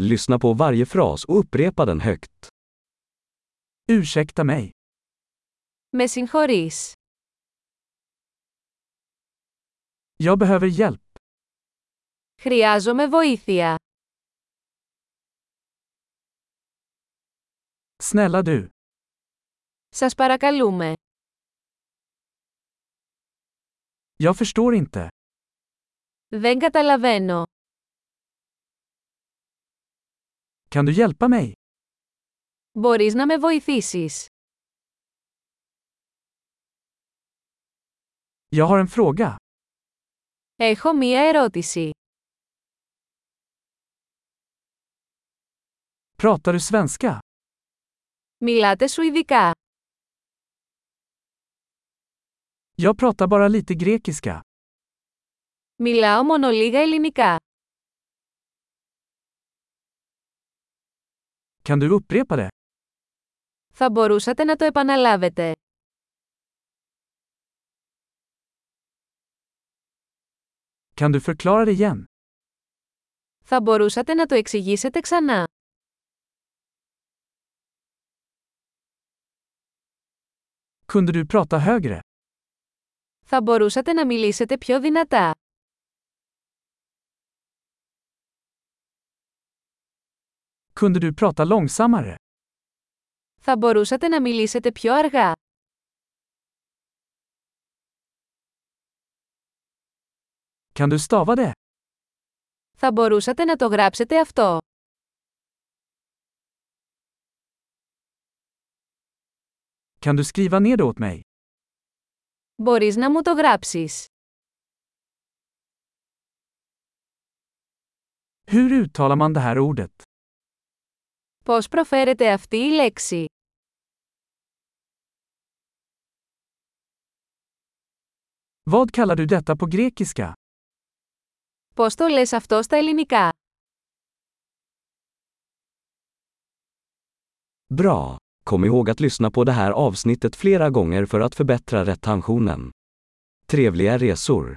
Lyssna på varje fras och upprepa den högt. Ursäkta mig. Με συγχωρείς. Jag behöver hjälp. Χρειάζομαι βοήθεια. Snälla du. Σας παρακαλούμε. Jag förstår inte. Δεν καταλαβαίνω. Kan du hjälpa mig? Μπορείς να με βοηθήσεις. Jag har en fråga. Έχω μία ερώτηση. Pratar du svenska? Μιλάτε σου ειδικά. Jag pratar bara lite grekiska. Μιλάω μόνο λίγα ελληνικά. Kan du upprepa det? Θα μπορούσατε να το επαναλάβετε. Kan du förklara det igen? Θα μπορούσατε να το εξηγήσετε ξανά. Kunde du prata högre? Θα μπορούσατε να μιλήσετε πιο δυνατά. Kunde du prata långsammare? Θα μπορούσατε να μιλήσετε πιο αργά. Kan du stava det? Θα μπορούσατε να το γράψετε αυτό. Kan du skriva ner det åt mig? Μπορείς να μου το γράψεις. Hur uttalar man det här ordet? Πώς προφέρεται αυτή η λέξη. Vad kallar du detta på grekiska? Πώς το λες αυτό στα ελληνικά. Bra! Kom ihåg att lyssna på det här avsnittet flera gånger för att förbättra retentionen. Trevliga resor!